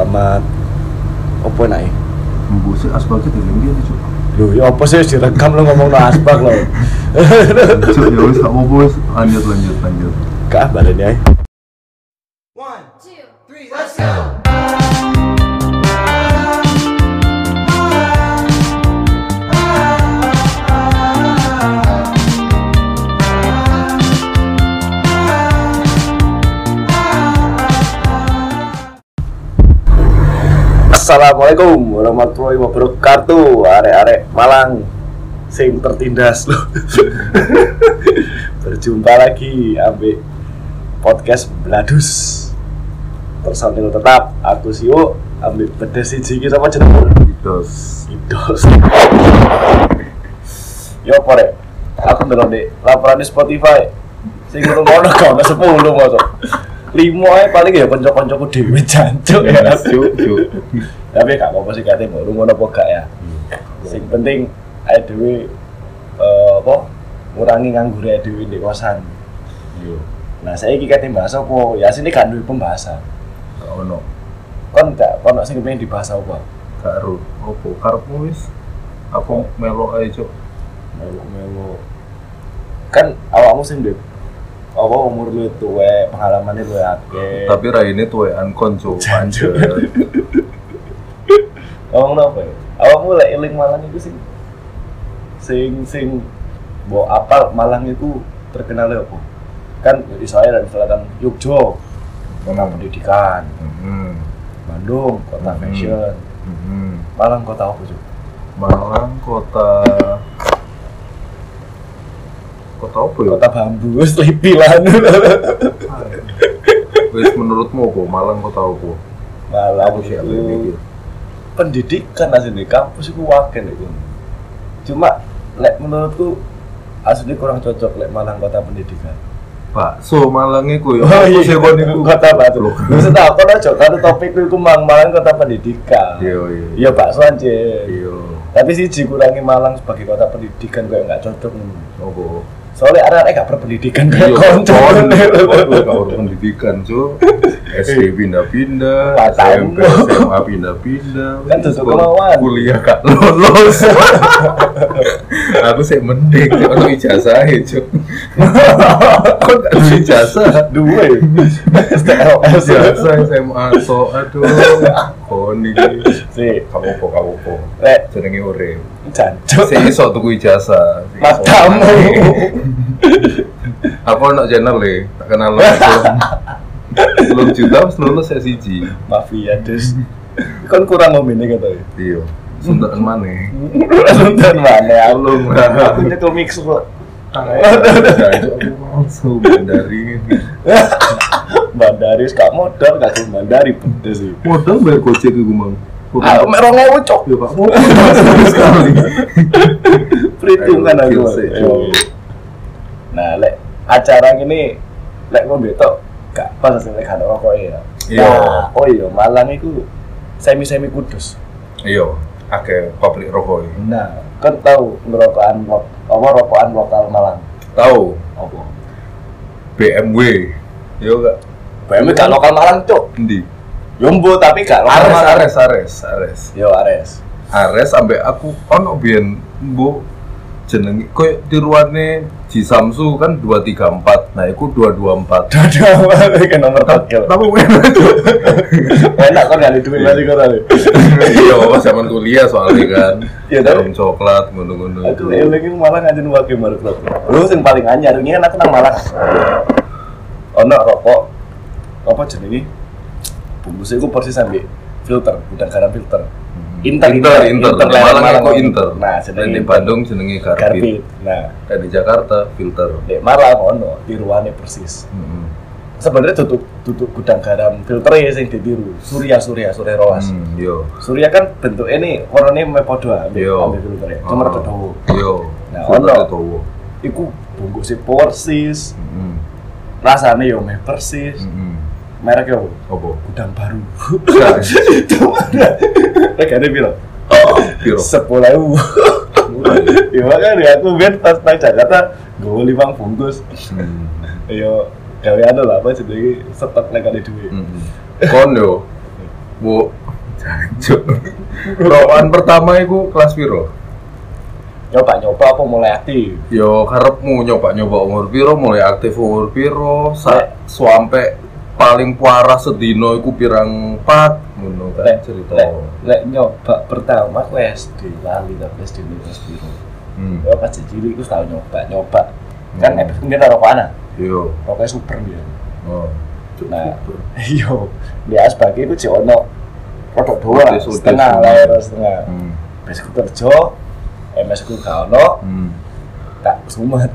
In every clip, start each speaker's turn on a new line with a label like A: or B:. A: amat opo nae
B: Mbusik asbaknya dilenggi ya cuk.
A: lho ya opo sih wis direkam lo ngomong no asbak lo
B: Cuk ya wis gak apa-apa wis lanjut lanjut lanjut.
A: kah baleni ae
C: One,
D: two,
C: three, let's go.
A: Assalamualaikum warahmatullahi wabarakatuh arek-arek Malang sing tertindas lo berjumpa lagi ambek podcast Bladus personil tetap aku Sio ambek pedes siji iki sama jenengmu
B: Terus
A: Idos. Yo pare. Aku ndelok Dik, laporan di Spotify. Sing ngono ngono kok ana 10 mosok. 5 ae paling ya kanca-kancaku dhewe jancuk ya. Mas.
B: cuk cuk.
A: Tapi gak apa-apa sih kate mau ngono apa gak ya. Sing penting ae dhewe eh, apa ngurangi nganggur ae dhewe ndek kosan.
B: Yo.
A: Nah, saya iki kate bahas apa? Ya sini gak duwe pembahasan.
B: Gak ono.
A: Kon gak kono sing pengen dibahas apa?
B: Gak ero. Opo karepmu wis aku melok ae cuk.
A: melu-melu kan awakmu sih Dep apa umur lu tuwe pengalamannya lu akeh
B: Tapi raine tuwean kon cuk.
A: Jancuk.
B: Anjir.
A: ngomong apa ya awakmu lek eling malang itu sing sing sing bo apal malang itu terkenal apa kan dari saya dan misalkan Yogyo kota pendidikan
B: Mhm.
A: Bandung kota
B: Hmm.
A: fashion
B: Mhm.
A: Malang kota apa sih
B: Malang kota kota apa ya?
A: kota bambu sleepy lah
B: Wis menurutmu apa? Malang kota apa?
A: Malang
B: Aku sih
A: itu
B: ambil mikir.
A: pendidikan asli kampus itu wakil itu cuma lek menurutku asli kurang cocok lek Malang kota pendidikan
B: Bakso Malang iku
A: Oh,
B: ya. Aku
A: iya,
B: sih kon iku
A: kota batu
B: Loh.
A: maksud aku aja kan topik itu mang Malang kota pendidikan
B: Iya iya.
A: iya Pak aja
B: Iya.
A: tapi sih kurangi Malang sebagai kota pendidikan kayak nggak cocok ngono.
B: Apa?
A: soalnya anak-anak gak berpendidikan kayak
B: Iya, kon.
A: kontol
B: Kon pendidikan, Cuk. SD pindah-pindah,
A: Gak tahu.
B: SMK, SMA pindah-pindah.
A: Kan
B: Wis,
A: tutup
B: kon
A: kemauan.
B: Kuliah gak lulus. Aku sih mending ono ijazah Cuk. Kon gak duwe ijazah.
A: dua ya STLS
B: Ijazah SMA so aduh. Kon iki.
A: sih
B: Kamu kok kamu kok
A: lek
B: jenenge urip.
A: jancuk
B: Saya iso tuku ijazah. Sing iso.
A: matamu
B: Aku ono channel e, tak kenal langsung. Belum juta wis lulus saya siji.
A: mafia dus kan kurang ngomongnya kata ya
B: Iya. Sundan maneh.
A: nonton mana aku
B: Belum.
A: aku nyekel mix kok
B: Langsung dari
A: bandari gak modal gak cuma bandari pedes ya. sih
B: modal bayar gojek iku mang.
A: aku merong ewu cok
B: Ya Pak, modal sekali.
A: perhitungan aku
B: Ayo, sik,
A: Yo.
B: Cuk.
A: nah lek acara ini lek ngombe tok gak pas sih lek ada rokok ya
B: Iya.
A: Wah, oh iya malang itu semi semi kudus
B: Iya, akeh pabrik rokok. iki.
A: nah kan tahu ngerokokan lo- apa rokokan lokal malang
B: Tahu
A: apa
B: BMW. Yo Iya gak
A: BMW gak lokal malang cok
B: endi?
A: Yombo tapi gak lokal
B: Ares,
A: Malang.
B: Ares, Ares, Ares.
A: Yo Ares.
B: Ares sampai aku ono biyen mbok jenenge koyo tiruane Ji Samsu kan 234. Nah, iku 224.
A: Dada balik ke nomor tokil.
B: Tapi enak itu.
A: Enak kan kali duit balik kau tadi.
B: Iya, zaman kuliah soalnya kan.
A: Iya, tapi-
B: Jarum coklat ngono-ngono.
A: Aku eling iku malah ngajin wakil baru klub. Lu sing paling anyar ini kan aku nang malah. Ono rokok. Apa jenenge? Bungkusnya iku persis sampe filter, udah garam filter. Inter,
B: Inter, Inter,
A: Malang,
B: Malang aku Inter.
A: Nah,
B: Dan di
A: jenenge
B: Bandung jenenge Karbit,
A: Karbit. Nah,
B: dan di Jakarta filter. Hmm,
A: di Malang ono tiruane persis.
B: Heeh.
A: Sebenarnya tutup tutup gudang garam filter ya sing ditiru. Surya Surya Surya Roas.
B: Hmm, yo.
A: Surya kan bentuknya ini warnanya meh padha ambek
B: Yo.
A: ambek filter ya. Cuma rada dawa.
B: Yo.
A: Nah,
B: Iya. Ah. Filter
A: ono.
B: dawa. Hmm,
A: Iku bungkusnya persis,
B: Heeh.
A: rasanya yo meh persis.
B: Heeh.
A: Mereknya apa?
B: Opo?
A: Gudang baru.
B: Nah,
A: Cuma ada. Regane piro? 10.000.
B: piro?
A: Ya makanya aku ben pas nang Jakarta nggawa limang bungkus. Iya,
B: Hmm.
A: Yo gawe anu lah apa jenenge stok lek kali duwe.
B: Mm-mm. kon yo bu Jancuk. Rokokan pertama iku kelas piro?
A: nyoba nyoba apa mulai aktif
B: Yo karepmu nyoba-nyoba umur piro, mulai aktif umur piro, sa sampai paling puara sedino iku pirang pat ngono kan
A: lek
B: cerita.
A: lek lek nyoba pertama aku SD lali tapi SD ini kelas biru
B: Hmm.
A: ya pas cilik aku tau nyoba nyoba kan
B: Hmm.
A: habis mungkin rokok anak
B: Yo.
A: rokoknya super dia
B: Oh. Cuk,
A: Nah.
B: super.
A: Iya, ya sebagai itu sih ono produk dua lah,
B: Udah,
A: setengah
B: udah.
A: lah, ya, setengah.
B: Hmm.
A: Besok aku kerja, MS aku gak ono,
B: Hmm.
A: tak sumet,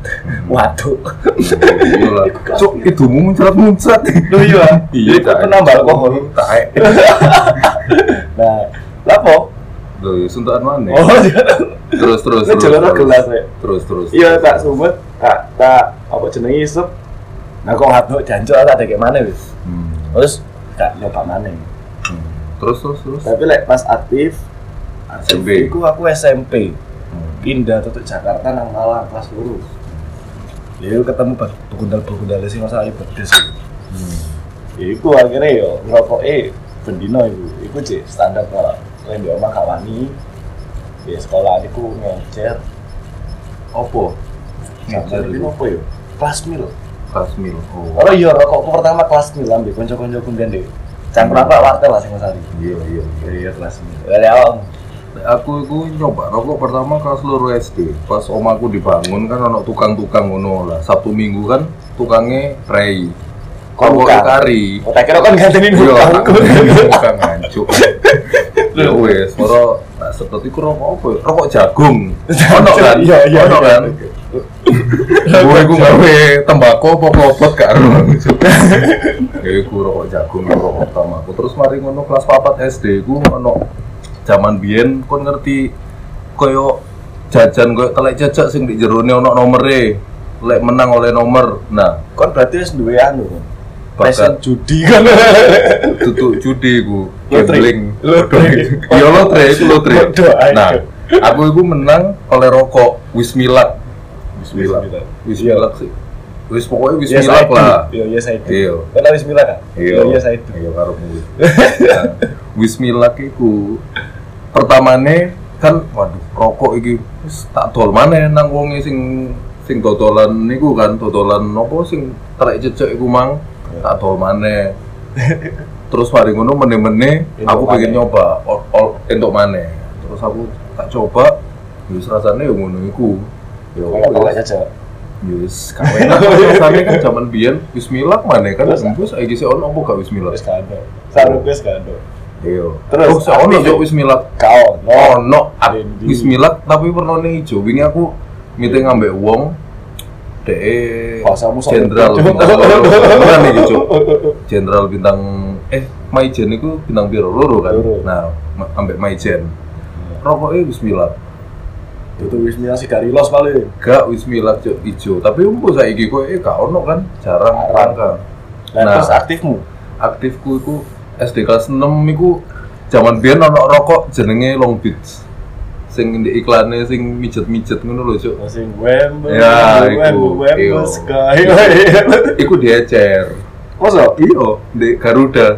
A: waduh.
B: Iya lah. Cuk, hidungmu muncrat-muncrat.
A: Lu iya,
B: Iya,
A: iya,
B: Cak.
A: penambah alkohol.
B: Taek.
A: Nah, lapo?
B: Loh, suntukan mana?
A: Oh,
B: Terus terus
A: Ini
B: terus.
A: jalur
B: terus.
A: gelas, Rek.
B: Terus terus.
A: iya tak sumet, tak tak apa jenenge isep. Nah, kok ngaduk jancuk tak kayak mana wis.
B: Hmm.
A: Terus gak nyoba mana.
B: Hmm. Terus terus terus.
A: Tapi lek pas aktif,
B: SMP.
A: Aku aku SMP.
B: Hmm.
A: pindah tuh Jakarta nang Malang kelas lurus ya ketemu begundal begundal sih masa ayu pedes
B: Hmm.
A: itu akhirnya yo ngerokok eh bendino itu itu sih standar kalau lain di omah gak wani di sekolah aku ngecer opo
B: Ngecer
A: ngecer itu
B: itu.
A: opo yo kelas mil
B: Kelas mil. Oh.
A: kalau yo rokokku pertama kelas mil ambil konco konco kemudian deh campur apa wartel lah sih mas Ari
B: Iya iya. iya.
A: iya kelas mil dari awal
B: Aku itu nyoba rokok pertama kelas seluruh SD. Pas omaku dibangun kan ono tukang-tukang ngono lah. Sabtu Minggu kan tukangnya Ray.
A: Kok
B: Kalau
A: bukan?
B: kari.
A: Oh, tak kira kan gantiin
B: Iya,
A: hutangku.
B: bukan ngancuk. Ya wes, moro tak sedot iku rokok apa? ya? Rokok jagung. Ono kan?
A: Iya, iya,
B: Ono
A: iya.
B: kan? Gue iku gawe tembakau apa klopot gak ero. Ya iku rokok jagung rokok pertama. Aku terus mari ngono kelas 4 SD iku ono zaman biyen kon ngerti koyo jajan koyo telek jejak sing di jerone ono nomere. Lek menang oleh nomor. Nah,
A: Kon berarti wis duwe anu. Passion
B: bakat
A: judi kan.
B: tutup judi ku
A: Lotre.
B: gambling
A: Lotre.
B: ya lotre itu lotre
A: Waduh, ayo.
B: nah aku itu menang oleh rokok Wismilak
A: Wismilak. Iya. Ya,
B: Wismilak sih wis pokoknya
A: Yes, I
B: Wismilak
A: do.
B: lah
A: Iya, yes I do.
B: Iya.
A: Kan harus Mila kan? yes I do.
B: iya karo mulut nah, Wismilak itu pertamane kan waduh rokok iki wis tak dol maneh nang wonge sing sing dodolan niku kan dodolan nopo sing trek jejak iku mang
A: Iya.
B: tak dol maneh terus mari ngono mene-mene
A: Entuk
B: aku pengen
A: maneh.
B: nyoba ol- ol- entuk maneh terus aku tak coba wis rasane yo ngono iku yo
A: Kalau kalau Iya. aja Cok.
B: Iya. wis kawe rasane kan jaman biyen bismillah maneh
A: Oh,
B: kan
A: iya. Terus?
B: embus iki sik ono apa gak bismillah
A: Wis gak ada. Sarung wis gak ada.
B: Iya.
A: Terus,
B: oh, saya ono
A: aktif.
B: yo Wismilak.
A: Kau no.
B: Ono ak-
A: Dendi.
B: Wismilak tapi warnane ijo. Wingi aku meeting ambek wong dee
A: Bahasamu sok
B: jenderal Iya.
A: betul, Cuk.
B: bintang loro. Beneran iki, Cuk. Jenderal bintang eh Maijen iku bintang biru loro kan.
A: Loro.
B: Nah, ma- ambek Maijen. Rokoknya Wismilak.
A: Itu wis Mila sih dari los paling.
B: Gak Wismilak cok ijo. Tapi umpo saiki kowe eh gak ono kan. Jarang
A: Jarang.
B: rangka.
A: Nah,
B: Nah.
A: terus aktifmu.
B: Aktifku iku SD kelas 6 iku jaman biyen ono rokok jenenge Long Beach. Sing di iklane sing mijet-mijet ngono lho, Cuk.
A: Masih Wembley,
B: Ya,
A: Wembley,
B: iku.
A: Wembley,
B: Iya.
A: Sky.
B: Iku diecer.
A: Masa?
B: Iya, di Garuda.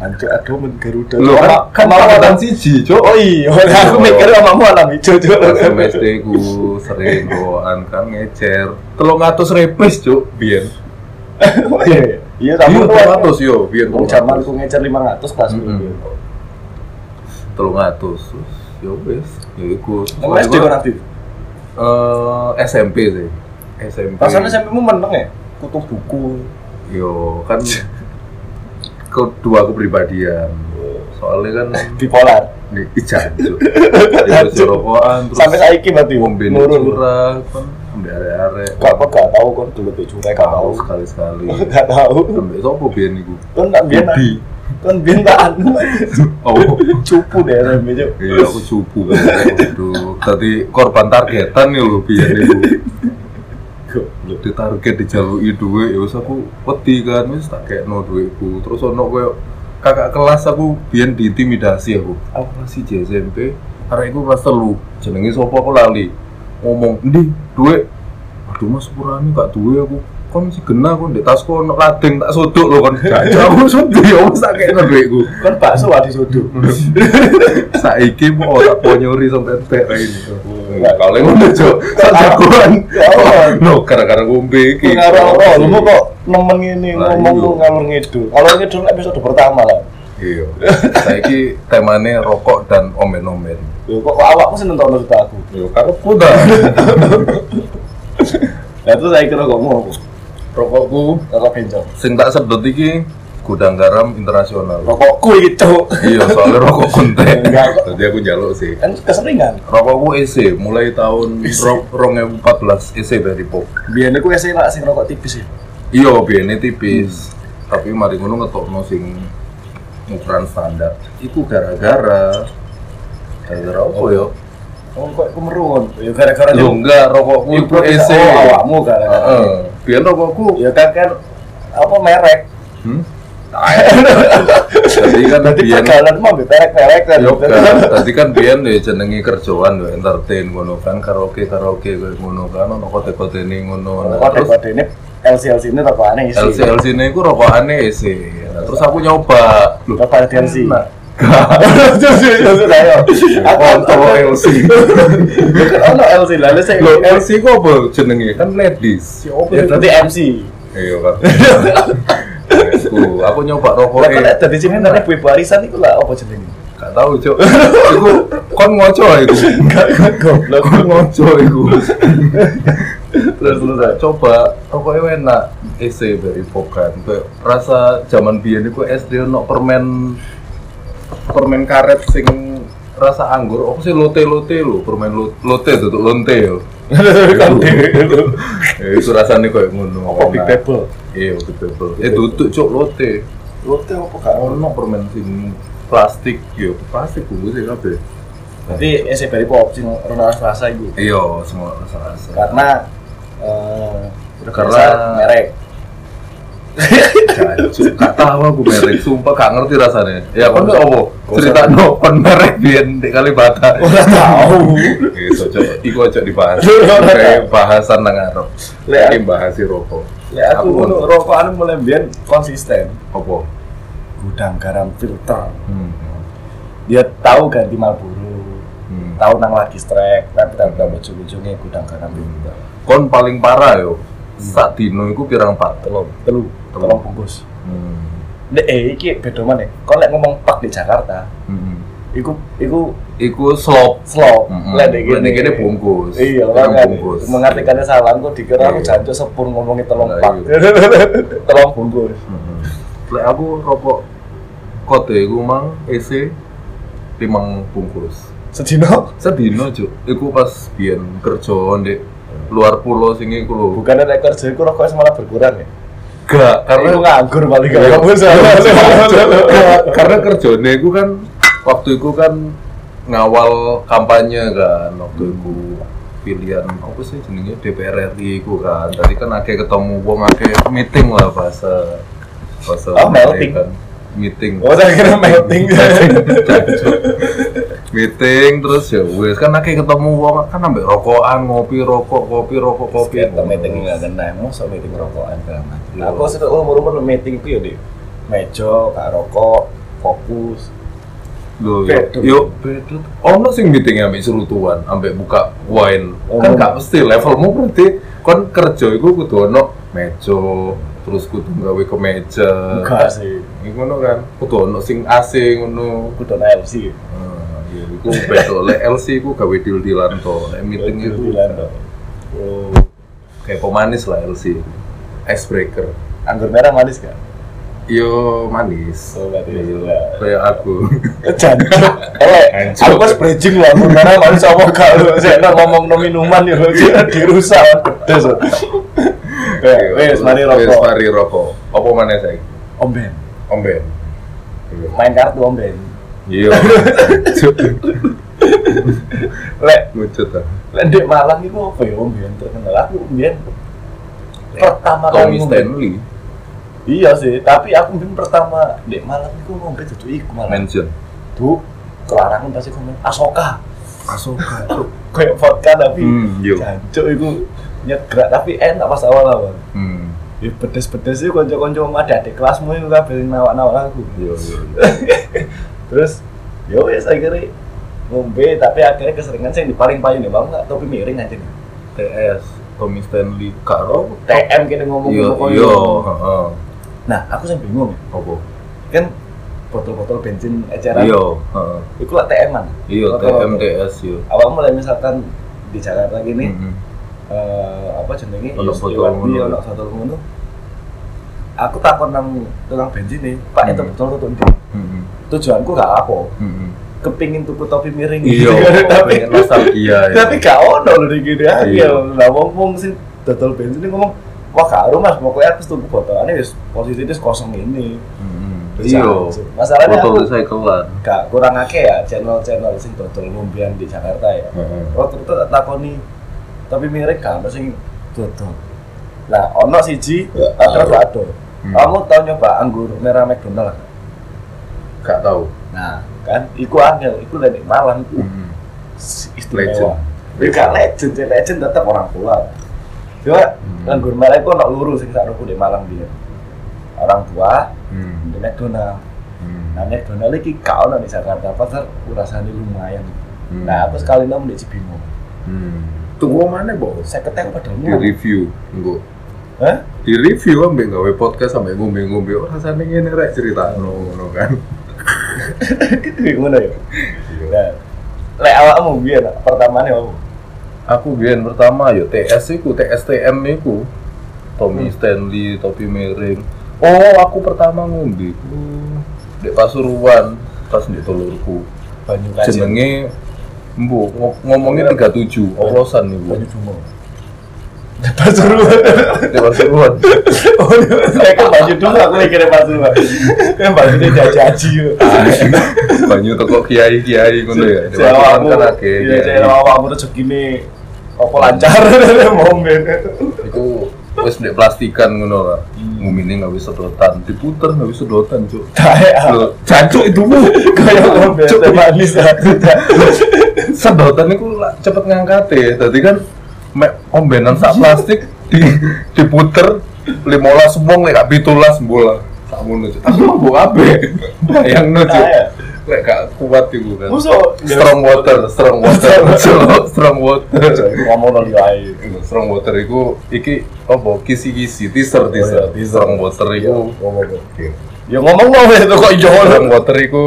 A: Anjir, aduh men Garuda.
B: Lho kan, kan malah
A: kan
B: kan siji, Cuk.
A: Oh iya, aku mikir sama mu anak hijau
B: Pas
A: Cok.
B: MSD ku sering roan kan ngecer. 300 repes, Cuk, biyen.
A: Oh iya, iya. Iya,
B: Iya,
A: kamu tuh.
B: 300 yo, biyen.
A: Wong jaman ku ngecer 500 kelas
B: Mm-mm.
A: minggu.
B: 300. Terus, Yo wis, yo iku.
A: Nang SD kon aktif.
B: Eh, SMP sih. SMP.
A: Rasanya SMP mu meneng ya? Kutu buku.
B: Yo kan kedua kepribadian. Soalnya kan
A: Bipolar.
B: di ijan terus rokokan terus
A: Sampai saiki berarti
B: ngombe di
A: nurun.
B: curah kan ambil arek-arek
A: Gak apa gak tahu kon dulu tuh curai gak tahu.
B: tahu sekali sekali
A: Gak tahu.
B: ambil sopo biar niku
A: Kon tak biyen
B: Bibi.
A: kon biyen tak anu.
B: oh
A: Cupu deh ya, SMP Cok.
B: iya aku cupu kan aduh tadi korban targetan ya, nih lo biar niku
A: Goblok.
B: di target dijalui duit ya wis aku wedi kan wis tak kekno duitku terus ono koyo kakak kelas aku biyen diintimidasi aku aku kelas di SMP arek iku kelas telu jenenge sapa aku lali ngomong endi duit aduh mas sepurane gak duwe aku kon si kena kon di tasku ono lading tak sodok lho kon jajah aku sodok ya wis tak kena duitku
A: kan bakso wadi sodo
B: saiki mau tak ponyori sampai tek ini kalau ngono jo
A: Ah,
B: sajagoan
A: Kawan.
B: no gara-gara ngombe iki Iya.
A: ngarang lu mau kok nemen ini
B: Lah,
A: ngomong
B: iya.
A: lu ngalur ngidul kalau ngidul episode pertama lah
B: iya saiki temane rokok dan omen-omen
A: Yo, kok, kok awakmu seneng tau cerita aku
B: yo karo kuda
A: nah itu saya kira kok mau
B: rokokku
A: rokok benjol
B: sing tak sedot iki gudang garam internasional
A: rokokku gitu
B: iya soalnya rokok konten
A: Enggak, kok.
B: tadi aku njaluk sih
A: kan keseringan
B: rokokku EC mulai tahun
A: EC.
B: ro- 2014 EC E dari pop
A: biar aku esai lah sing rokok tipis sih
B: iya biayanya tipis tapi mari ngono ngetokno sing ukuran standar itu gara-gara gara-gara apa ya?
A: oh kok aku merun ya gara-gara
B: yo Ah, enggak rokokku
A: Ibu
B: itu EC
A: oh, awakmu gara-gara
B: Heeh. biar rokokku
A: ya kan kan apa merek
B: hmm? Nah, tadi kan
A: Jadi
B: biyen
A: perjalanan mau merek-merek kan
B: Yo kan, tadi kan biyen ya jenenge kerjaan yo entertain ngono kan karaoke karaoke koyo ngono kan ono kote-kote ini ngono nah,
A: kode
B: terus
A: kode ini LC LC ini rokok aneh Oh, sih
B: LC LC ini aku rokokane EC nah, terus aku nyoba Loh,
A: rokok aneh LC
B: enak.
A: terus terus ayo aku
B: Kontol
A: aku-
B: LC.
A: Kan ono LC lah lalu saya
B: Lo LC ku apa jenenge? Kan ladies.
A: Iya, ya berarti MC
B: Iya kan. Aku, aku nyoba rokok
A: lah
B: e.
A: kan dari sini nanti ibu barisan itu lah apa jenenge
B: Gak tau, Cuk. Iku kon ngoco ya, iku.
A: gak gak goblok
B: Kon ngoco iku.
A: terus terus ayo.
B: Coba rokoknya enak. EC dari Pokan. Kayak rasa zaman biyen iku SD ono permen permen karet sing rasa anggur. Apa sih lote-lote lho, permen lo- lote tutuk lonte yo.
A: Kan dewe lu.
B: Eh, Itu rasanya kayak ngono.
A: apa big
B: Enak.
A: table
B: Iya, betul betul. Eh, tutup cok lote.
A: lote apa gak
B: Ono permen sing plastik yo, plastik bungkus ya kabeh.
A: berarti SC dari pop sing Ronaldo Selasa itu
B: Iya, semua salah.
A: karena eh udah
B: Karena-
A: biasa merek
B: Jancuk, gak tahu aku merek, sumpah gak ngerti rasanya. Ya kon
A: Gak usah.
B: opo? Cerita no kon merek biyen di Kalibata.
A: Ora tahu.
B: Itu cok, iku aja dibahas.
A: Ora tahu.
B: Kayak bahasan nang Arab.
A: Lek-
B: Lek bahas si rokok.
A: Ya aku
B: Aku-
A: ngono rokokan mulai mbiyen konsisten.
B: Opo?
A: Gudang garam filter.
B: Hmm.
A: Dia tahu ganti Marlboro.
B: Hmm.
A: Tahu nang lagi strike, tapi tak tahu ujung-ujungnya gudang garam filter.
B: Kon paling parah yo. Sak dino iku pirang pat.
A: Telung, telu,
B: Telu.
A: telung bungkus.
B: Hmm.
A: Nek eh iki beda maneh. Kok lek ngomong pak di Jakarta,
B: Hmm.
A: iku iku
B: Iku slop.
A: slow.
B: Mm-mm.
A: Lek nek
B: Lek nek
A: kene
B: kene bungkus.
A: Iya,
B: Pirang
A: kan.
B: bungkus.
A: Mengartikannya salah kok dikira aku
B: Iya.
A: jancuk sepur ngomongi telung
B: Nah,
A: pak. Telung bungkus.
B: Lek aku rokok kote iku mang EC limang bungkus.
A: Sedino
B: Sedino cuk, iku pas biyen kerja ndek luar pulau sing iku lho.
A: bukannya nek kerja iku rokoknya malah berkurang ya.
B: Gak,
A: Karena
B: karena
A: nganggur paling gak
B: Iya.
A: kamu salah.
B: Gak, Iya, karena kerjane iku kan waktu iku kan ngawal kampanye kan waktu iku pilihan apa sih jenenge DPR RI iku kan tadi kan akeh ketemu wong akeh meeting lah bahasa bahasa
A: Oh, melting.
B: kan. meeting
A: Oh, saya kira melting.
B: meeting terus ya wes kan akeh ketemu wong kan ambek rokokan ngopi rokok kopi rokok kopi
A: Kita meeting ya kan? nggak kena, masa meeting rokokan segala macam.
B: Iya.
A: Aku sudah umur umur meeting ku ya di meja, kak rokok, fokus.
B: Loh,
A: Bedut.
B: yuk, ya, yuk, bedut. Ono sing meeting ambek serutuan, ambek buka wine.
A: Ono.
B: Kan gak mesti levelmu berarti kon kerja iku kudu ono meja, terus kudu gawe ke meja.
A: Enggak sih,
B: Iku ngono kan, kudu ono sing AC ngono.
A: aku udah LC.
B: Ah, ya iku bedut. Lek LC iku gawe deal-dealan to.
A: Iya,
B: Lek meeting iku
A: bulan tuh. Oh,
B: kayak pemanis lah LC. Icebreaker.
A: anggur merah manis kan?
B: Yo manis.
A: Oh, berarti
B: Iya,
A: iya.
B: Kayak aku.
A: Jancuk. Eh,
B: Jancuk.
A: aku pas bridging loh, anggur merah manis apa gak lu? Saya nak ngomong no minuman ya lu, Saya dirusak. Pedes. loh. Eh, Wes, mari rokok.
B: Wes Iya, mari rokok. Apa maneh saiki?
A: Omben.
B: Omben.
A: Main kartu omben.
B: Iya.
A: Lek,
B: Lucu ta.
A: lek di Malang itu apa ya Om Bian terkenal? Aku Om Bian pertama
B: Tommy
A: ngombe.
B: Stanley
A: Iya sih, tapi aku Bian pertama di Malang itu ngombe itu iku malah.
B: mention.
A: Tuh, kelarangan pasti komen Asoka.
B: Asoka.
A: Kayak vodka tapi
B: Hmm, iya.
A: jancuk itu nyegrak tapi enak pas awal-awal.
B: Hmm.
A: Ya pedes-pedes sih konco-konco ada adik kelasmu yang kabeh nawak-nawak aku.
B: Iya, iya.
A: Terus ya wes akhirnya ngombe tapi akhirnya keseringan sih yang paling payung ya bang nggak topi miring aja nih.
B: TS Tommy Stanley Karo.
A: TM kita ngomong
B: Iya,
A: pokoknya.
B: iya. heeh.
A: Nah aku sih bingung ya.
B: Apa?
A: kan botol-botol bensin eceran.
B: Iya, heeh.
A: Iku lah TM an.
B: Iya, TM TS yo.
A: Awal mulai misalkan di Jakarta gini
B: Heeh.
A: eh, apa jenenge
B: Hmm. Ono
A: Yusri
B: botol
A: Wardi,
B: ngono.
A: ono botol ngono. Aku takon nang tukang bensin nih, Pak itu
B: Hmm.
A: botol tuh ndi?" Tujuanku gak apa,
B: Heeh.
A: kepingin tuku topi miring.
B: hmm,
A: gitu.
B: Iya,
A: tapi
B: pengen nostalgia. ya.
A: tapi gak ono lho iki gini aja.
B: Iya.
A: Lah wong wong sing dodol bensin ini ngomong, "Wah, gak aro Mas, pokoknya aku tuku botolane wis posisi wis kosong ini."
B: Mm-mm.
A: Terus
B: Iya.
A: langsung. Masalahnya
B: Foto
A: aku
B: recyclean.
A: gak kurang akeh ya channel-channel sing dodol ngombean di Jakarta ya.
B: Heeh.
A: waktu itu tak takoni tapi mirip kan terus sing dodol lah ono siji akhirnya gak ada
B: Iya. Hmm.
A: kamu tau nyoba anggur merah McDonald gak?
B: Gak tahu.
A: nah kan iku angel iku lenek malang iku
B: Mm-mm.
A: s-
B: Legend.
A: istimewa ya gak legend ya legend tetep orang tua cuma
B: Hmm.
A: anggur merah iku ono luru sing sak di malang dia orang tua
B: Mm.
A: di McDonald
B: Mm.
A: nah McDonald iki gak ono di Jakarta pasar rasanya lumayan
B: Mm.
A: nah aku sekali nom di Cibinong
B: Mm. Tunggu mana, Bos?
A: saya ketemu pada
B: Di review, enggak.
A: Hah?
B: Di review ambek gawe podcast sampe ngombe-ngombe oh rasane ngene rek cerita ngono kan.
A: Gimana ya? Nah, lek awakmu biyen pertamane opo?
B: Aku biyen pertama yo TS iku, TSTM iku. Tommy Stanley, topi miring. Oh, aku pertama ngombe iku di Pasuruan pas di telurku.
A: Banyu
B: Jenenge Mbu, ngomongnya 37, oplosan nih bu
A: Banyu Dungo. Pasuruan.
B: Di Pasuruan
A: Oh, lek ke Banyu Dungo aku lagi kira Pasuruan. Kan Banyu ini jajaji yo.
B: Banyu toko kiai-kiai ngono ya Di Pasuruan
A: Jawamu.
B: kan akeh
A: Iya,
B: kiai.
A: jalan awakmu rezekine opo lancar momen.
B: Iku wis di plastikan ngono lah Ngumine gak bisa sedotan, diputer gak bisa sedotan cuk
A: Kae
B: Loh, jancuk itu bu
A: kaya ngombe
B: Cuk,
A: teh manis
B: sedotan itu lah cepet ngangkat ya tadi kan me- ombenan sak plastik di diputer limolas wong lek gak pitulas bola sak ngono cuk aku mau bawa abe bayang no cuk
A: Iya.
B: lek gak kuat iku kan
A: Musuh.
B: strong water strong water Cuk, strong water
A: Ngomong lali wae.
B: strong water iku iki apa kisi-kisi teaser teaser Iya.
A: Oh, iya,
B: strong water iku
A: Ngomong.
B: Oke.
A: Ya ngomong wae to kok yo.
B: Strong water iku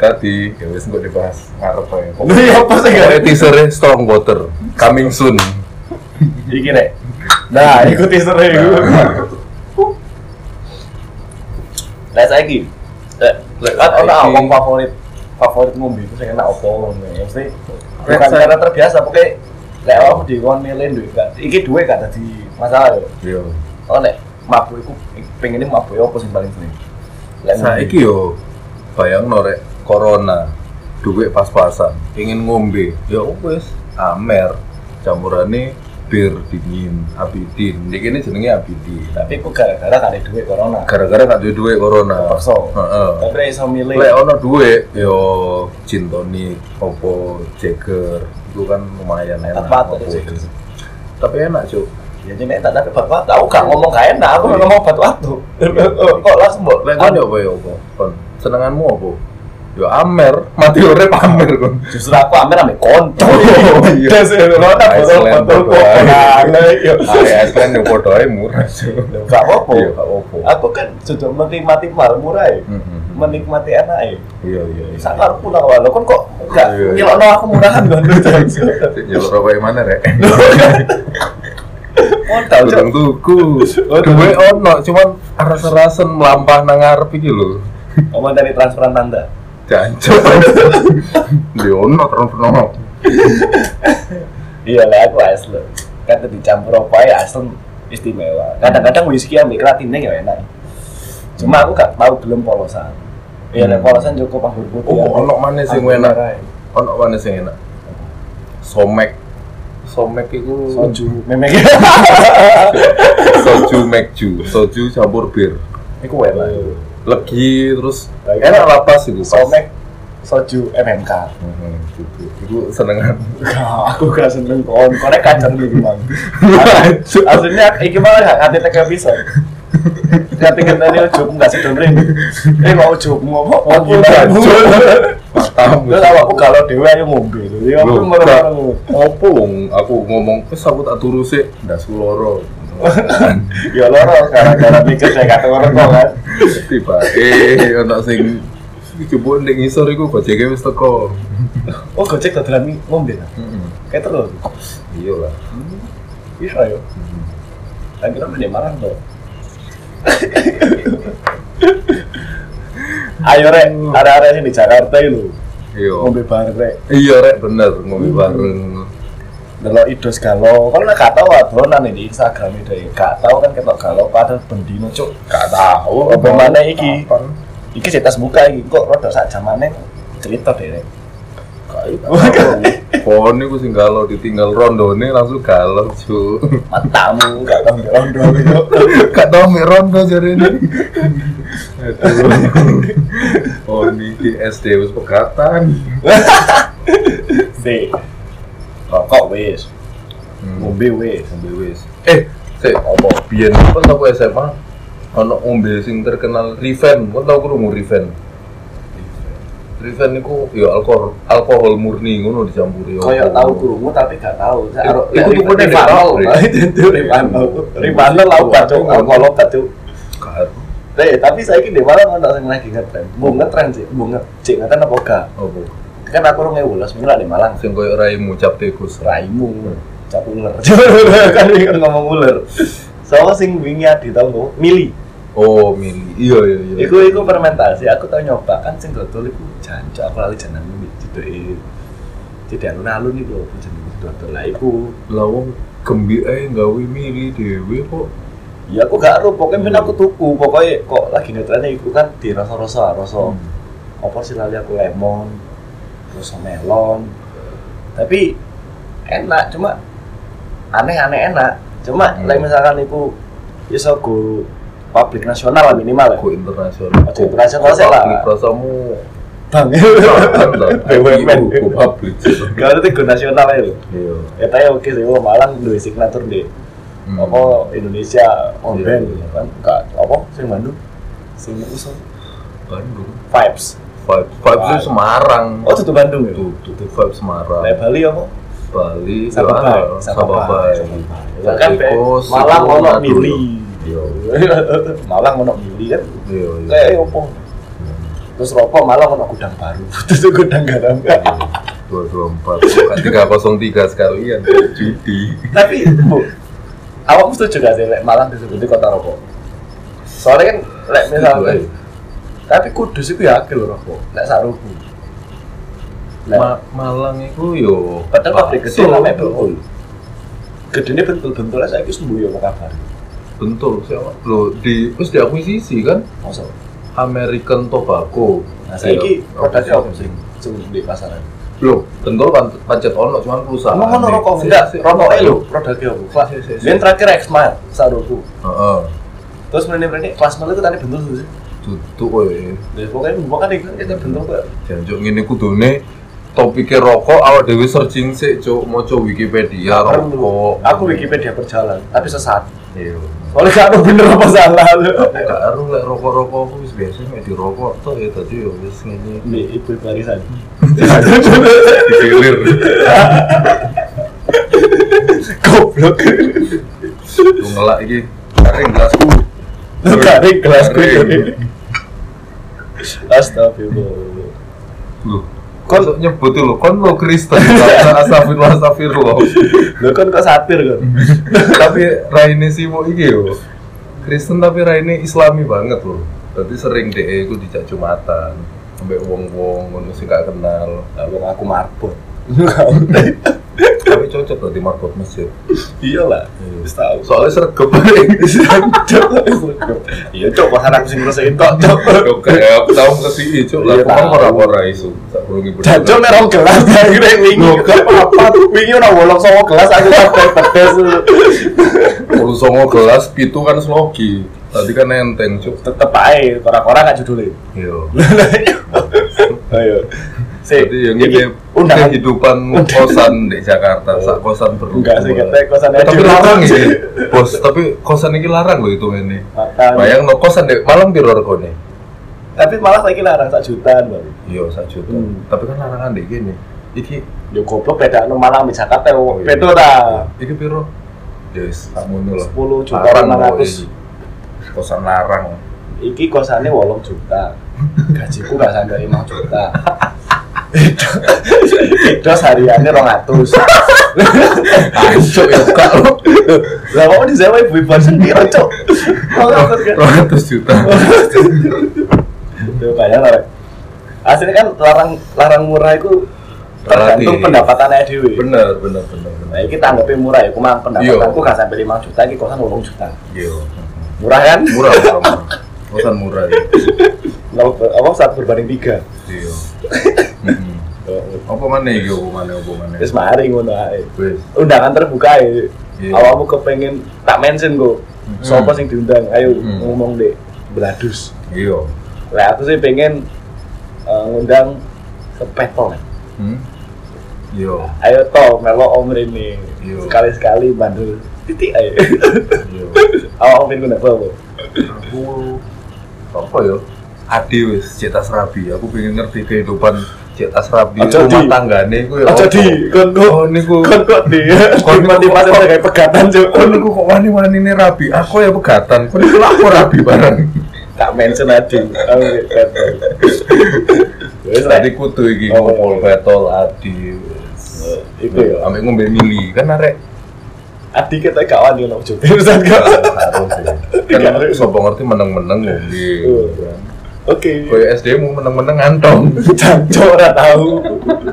B: tadi ya wis engko dibahas ngarep ae. Pokoknya
A: Lha apa sih
B: Ada teaser Strong Water coming soon.
A: Iki rek. Nah, iku teaser iku. Lah saiki. eh,
B: Lek
A: Kan
B: saiki-
A: ana wong favorit favorit ngombe itu sing enak opo ngono. ya. Mesti
B: Lek
A: bukan
B: saiki-
A: cara terbiasa pokoke lek awakmu dikon milih duit gak. Iki duwe gak dadi masalah yo.
B: Yo.
A: Oh nek mabuk iku pengine mabuk opo sing paling sering. Lek ngombe.
B: Saiki yo bayang norek corona duit pas-pasan ingin ngombe ya wes amer campurannya bir dingin abidin ini kini jenenge abidin
A: tapi iku gara-gara gak ada duit corona.
B: gara-gara gak duwe duit corona
A: Paksa.
B: Heeh.
A: Tapi rek iso milih.
B: lek ono duit yo gin tonic opo jager itu kan lumayan enak
A: Apa tuh,
B: opo.
A: Jager?
B: tapi enak cuk
A: Ya jadi tak ada batu batu. Aku gak ngomong gak enak, aku gak ngomong batu batu. Kok langsung mau?
B: Lek kon yo apa yo apa? Kon senenganmu apa? Yo amer, mati urip amer kon.
A: Justru aku ambil ambil konco.
B: Iya.
A: Des, lo tak botol
B: Iceland,
A: botol
B: botol.
A: kok. Nah, lek, yo.
B: Are Iya, Iceland yo podo ae murah. Cuk.
A: Gak apa-apa.
B: Iya, gak apa-apa.
A: Aku kan sudah menikmati mal murah ya.
B: Mm-mm.
A: Menikmati enak ya.
B: Iya iya. iya.
A: Sakar pun aku lo kan kok gak
B: Iya, iya.
A: nyelok aku Iya. murahan kan.
B: Cuk, Nyelok rokok yang mana rek?
A: Modal Cok.
B: Tudung tuku. Duwe ono cuman aras-arasen melampah nang ngarep iki lho.
A: Ngomong dari transferan tanda.
B: Jancuk. Di ono terus ono.
A: Iya lah aku asli. Kan dicampur apa ya asli istimewa. Kadang-kadang whisky ambil keratinnya ya enak. Cuma aku gak tahu belum polosan. Iya, hmm.
B: Hmm.
A: polosan cukup anggur putih.
B: Oh, ono mana sing
A: Anggur
B: enak?
A: merah.
B: Ono mana sing enak? Somek. Somek iku
A: Soju, memek.
B: soju mekju soju campur bir
A: Iku enak.
B: legi terus
A: Baik.
B: enak lapas itu pas
A: Nah, Somek soju MMK.
B: Heeh, gitu. Iku senengan.
A: Gak, aku gak seneng kon, konek kacang di mang.
B: Lanjut.
A: Aslinya iki malah gak kate tega bisa. Kate ngenteni ujug enggak sedon ring. Eh kok ujug ngopo?
B: Oh,
A: Aku lanjut.
B: Tahu.
A: Terus awakku galau dhewe ayo ngombe. Ya aku
B: Loh,
A: merem.
B: Opo wong aku ngomong wis aku tak turu sik ndas ku loro.
A: Ya loro gara-gara mikir saya kata orang kok kan.
B: Tiba eh ana sing jebul ning ngisor iku gojeke wis teko.
A: Oh gojek dodolan mi- ngombe. ta?
B: Heeh.
A: Kayak terus.
B: Iya lah.
A: Iya ayo. Lagi kira dia marah tuh. Ayo rek, ada-ada sini di Jakarta itu.
B: Iya.
A: Hmm. Ngombe bareng rek.
B: Iya rek bener ngombe bareng.
A: Delok idos galau, kan lah gak tau adonan ini di Instagram itu ya. Gak tau kan ketok galau padahal bendino cuk.
B: Gak tahu
A: Apa mana iki?
B: Kapan?
A: Iki sih tas buka iki kok rodok sak jamane cerita deh rek.
B: Pohon iku sing galau ditinggal rondone langsung galau cu
A: Matamu gak tau mbek rondo itu.
B: Gak tau mik rondo jare ini Pohon iki SD wis pegatan
A: Si. Rokok wis,
B: Hmm,
A: ngombe wis.
B: Ngombe wis Eh, sik apa biyen pas aku SMA ana ombe sing terkenal Riven, kok tau krungu Riven? Riven iku ya alkohol alkohol murni ngono dicampuri.
A: Kayak tahu kurungu tapi gak tahu.
B: Iku- iku tuku nih,
A: Rivanol.
B: Rivanol.
A: Itu Rivanol. Rivanol lah obat tuh, alkohol obat tuh.
B: Gak-
A: Eh, tapi saya ini malah mau nggak lagi ngetren. Mau ngetren sih, mau nge- cek ngetren apa gak?
B: Apa?
A: Kan aku orang ngewulas, mungkin ada Malang.
B: Sing koyo raimu cap tikus.
A: Raimu, cap ular. Kan ini kan ngomong ular. Soalnya sing wingi di tahun tuh, mili.
B: Oh, mili. Iya, iya, iya.
A: Iku iku fermentasi. Aku tau nyoba kan sing dodol iku jancuk aku lali jenenge cedeke. Cedek alun-alun iku apa jenenge dodol. Lah iku
B: Lah wong gembi ae gawe mili dhewe kok.
A: Ya aku gak ero, pokoknya min aku tuku, pokoknya kok lagi netralnya iku kan di rasa-rasa, rasa
B: Hmm.
A: apa sih lali aku lemon, rasa melon. Tapi enak, cuma aneh-aneh enak. Cuma
B: Hmm.
A: like misalkan iku ya sogo publik nasional lah minimal ya.
B: Aku internasional.
A: Aku internasional sih lah.
B: Publik rasamu.
A: Bang. BUMN.
B: BUMN. Aku publik.
A: Kalau itu go nasional ya. lho.
B: Iya.
A: Ya tanya oke sih, wah Malang duwe signatur deh.
B: Hmm.
A: Apa Indonesia on
B: Iya.
A: band kan gak apa sing Bandung. Sing usul
B: Bandung.
A: vibes.
B: Vibes vibes itu
A: Vibes.
B: Semarang.
A: Oh, tutup Bandung ya?
B: tuh tuh vibes Semarang.
A: Lah Bali apa?
B: Bali.
A: Sababai.
B: Jawa, Sababai.
A: Lah kan Be-
B: Tikus,
A: Malang
B: itu
A: ono
B: Madura.
A: mili.
B: Iya.
A: Malang ono mili kan.
B: Iya. iya.
A: Kayak opo? Terus rokok Malang ono gudang baru. Terus gudang garam.
B: Iya. Dua dua empat. Bukan tiga kosong tiga sekalian. Judi.
A: Tapi Bu, awakmu setuju gak sih lek Malang disebut kota rokok? Soalnya kan lek misalnya
B: Setuju, eh.
A: tapi Kudus itu ya akeh lho rokok. Lek sak rubu. Lek
B: Ma- Malang itu yo.
A: padahal pabrik gede
B: bakso.
A: namanya Bentul. Gedene bentul-bentul saya wis mbuyu apa kabar?
B: Bentul, siapa? Loh, di, terus diakuisisi kan?
A: Masa?
B: American Tobacco.
A: Nah, saiki
B: Iya.
A: produknya apa sih? Sing di pasaran.
B: Loh, bentul kan pancet ono, cuman perusahaan.
A: Emang ono rokok enggak? Rokoknya lho, produknya apa? Kelas.
B: Sik, sik, sik.
A: Biyen terakhir X-Mile saruku.
B: Heeh.
A: Terus mrene-mrene kelas mile itu tadi bentuk sih.
B: Duduk kowe.
A: Ya pokoknya mbok kan iku kita bentuk kok.
B: Janjuk ngene kudune topike rokok awak dhewe searching sik, Cuk, maca Wikipedia
A: Perlu.
B: rokok.
A: Aku Wikipedia berjalan, tapi sesat.
B: Iya.
A: Soalnya gak tau bener apa salah lu.
B: Aku gak aruh lek rokok-rokok aku wis biasa mek dirokok to ya dadi yo wis ngene.
A: Nih, ibu barisan.
B: Dikilir.
A: Goblok.
B: Lu ngelak iki. Karing gelasku.
A: Garing gelas
B: Garing.
A: gue. Astagfirullah.
B: Loh,
A: Kon-
B: kon nyebut tuh lo, kon lo Kristen, karena astagfirullah astagfirullah.
A: Lo kan kok satir kan?
B: tapi Raine Simo iki yo. Kristen tapi Raine Islami banget loh. Berarti sering deh aku dijak jumatan sampai wong-wong ngono sing gak kenal.
A: Kalau aku marbot.
B: Tapi cocok loh di marbot masjid.
A: Iya lah.
B: Hmm.
A: Wis tau.
B: Soalnya sergep.
A: Iya, cok, pasan aku sing ngerasain tok, cok.
B: Yo kayak aku tau ke sini, cuk lah
A: Iya,
B: kok
A: tahu.
B: ora ora iso. Sak burungi bener.
A: Jancok merong gelas dari rek wingi.
B: Loh, gak
A: apa wingi ora wolong sama gelas aku sampai pedes.
B: Urus songo gelas pitu kan slogi. Tadi kan enteng, cuk. Iya.
A: Tetep ae, korak-korak gak judule.
B: Yo.
A: Ayo. Sih,
B: Jadi yang ini gitu.
A: undangan
B: kehidupan
A: Undangan. Oh.
B: kosan di Jakarta, sak kosan perlu.
A: Enggak sih, katanya kosan aja
B: Tapi
A: dilarang,
B: larang ya,
A: sih.
B: bos. Tapi kosan ini larang loh itu ini.
A: Makan.
B: Bayang no kosan deh, malam piro regone?
A: Tapi malah lagi larang sak jutaan, Bang.
B: Iya, sak juta.
A: Hmm.
B: Tapi kan larangan deh gini. Iki
A: Yo goblok beda nang Malang di Jakarta
B: Oh,
A: yo
B: iya.
A: beda ta.
B: iki piro? Yes, kamu nol.
A: 10 juta
B: Larang
A: 600.
B: kok iki. Kosan larang.
A: Iki kosannya 8 juta. Gajiku gak sampai 5 juta. Itu itu hariannya 200.
B: Ancok ya kak lo.
A: Lah kok di sewa ibu ibu sendiri, Cok. Orang kan.
B: 200 juta.
A: Tuh bayang lah. Rek. Aslinya kan larang larang murah itu tergantung
B: Relatif.
A: pendapatannya dewi.
B: Bener, bener, bener, bener.
A: Nah, kita anggapnya murah ya, cuma pendapatanku
B: Iya.
A: gak sampai 5 juta, ini kosan 8 juta.
B: Iya.
A: Murah kan?
B: Murah, murah, murah. Kosan murah ya.
A: Nol- Apa saat berbanding 3.
B: Iya. Mm-mm. Apa mana iki apa mana apa mana?
A: Terus mari ngono ae.
B: Wes.
A: Undangan terbuka ya.
B: Iya.
A: Awakmu kepengen tak mention kok. Sopo sing diundang? Ayo
B: Hmm.
A: ngomong deh. Beladus.
B: Iya.
A: Lah aku sih pengen eh, ngundang sepetol.
B: Hmm. Iya.
A: Ayo to melo om Rini.
B: Iya.
A: Sekali-sekali bandel. Titik ae.
B: Iya.
A: Awakmu pengen ngundang apa?
B: Aku apa ya? Adi wis cek tas rabi. Aku pengen ngerti kehidupan cek tas rabi
A: Aja di.
B: rumah tanggane iku ya.
A: Aja
B: apa.
A: di, kon kok-
B: Oh niku.
A: Kon kok di.
B: Kon
A: Kon mati
B: kok-
A: sebagai pegatan Cuk.
B: Kon niku kok wani-wani ini rabi. Aku ya pegatan. Kon niku lapo rabi barang.
A: tak mention aja. Aku petol. Wes lah.
B: Tadi kudu iki
A: Oh.
B: ngumpul betol Adi.
A: Eh, Iku ya.
B: Ambek ngombe mili kan arek
A: Adi kita kawan dengan Om Jody Ustaz kawan.
B: harus ya.
A: Iya.
B: Kan sopo ngerti meneng-meneng ngombe.
A: Iya.
B: kan.
A: Oke.
B: Koyo SD mu meneng-meneng ngantong.
A: Canco ora tahu.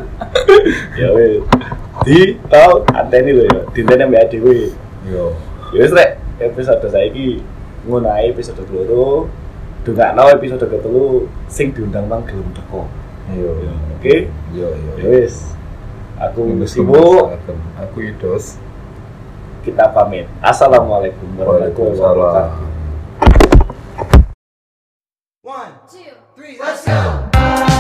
A: Ya wes. Di tau anteni lho ya. Dinten mbak dhewe.
B: Yo.
A: Ya wis rek, episode saiki ngono ae episode keloro. Dongakno episode ketelu sing diundang mang gelem teko.
B: Yo.
A: Oke.
B: Yo
A: Ya
B: yo.
A: wis. Aku
B: Ngenes
A: sibuk,
B: banget. Aku idos.
A: kita pamit. Assalamualaikum warahmatullahi wabarakatuh.
B: Waalaikumsalam.
C: One,
D: two,
C: three, let's go.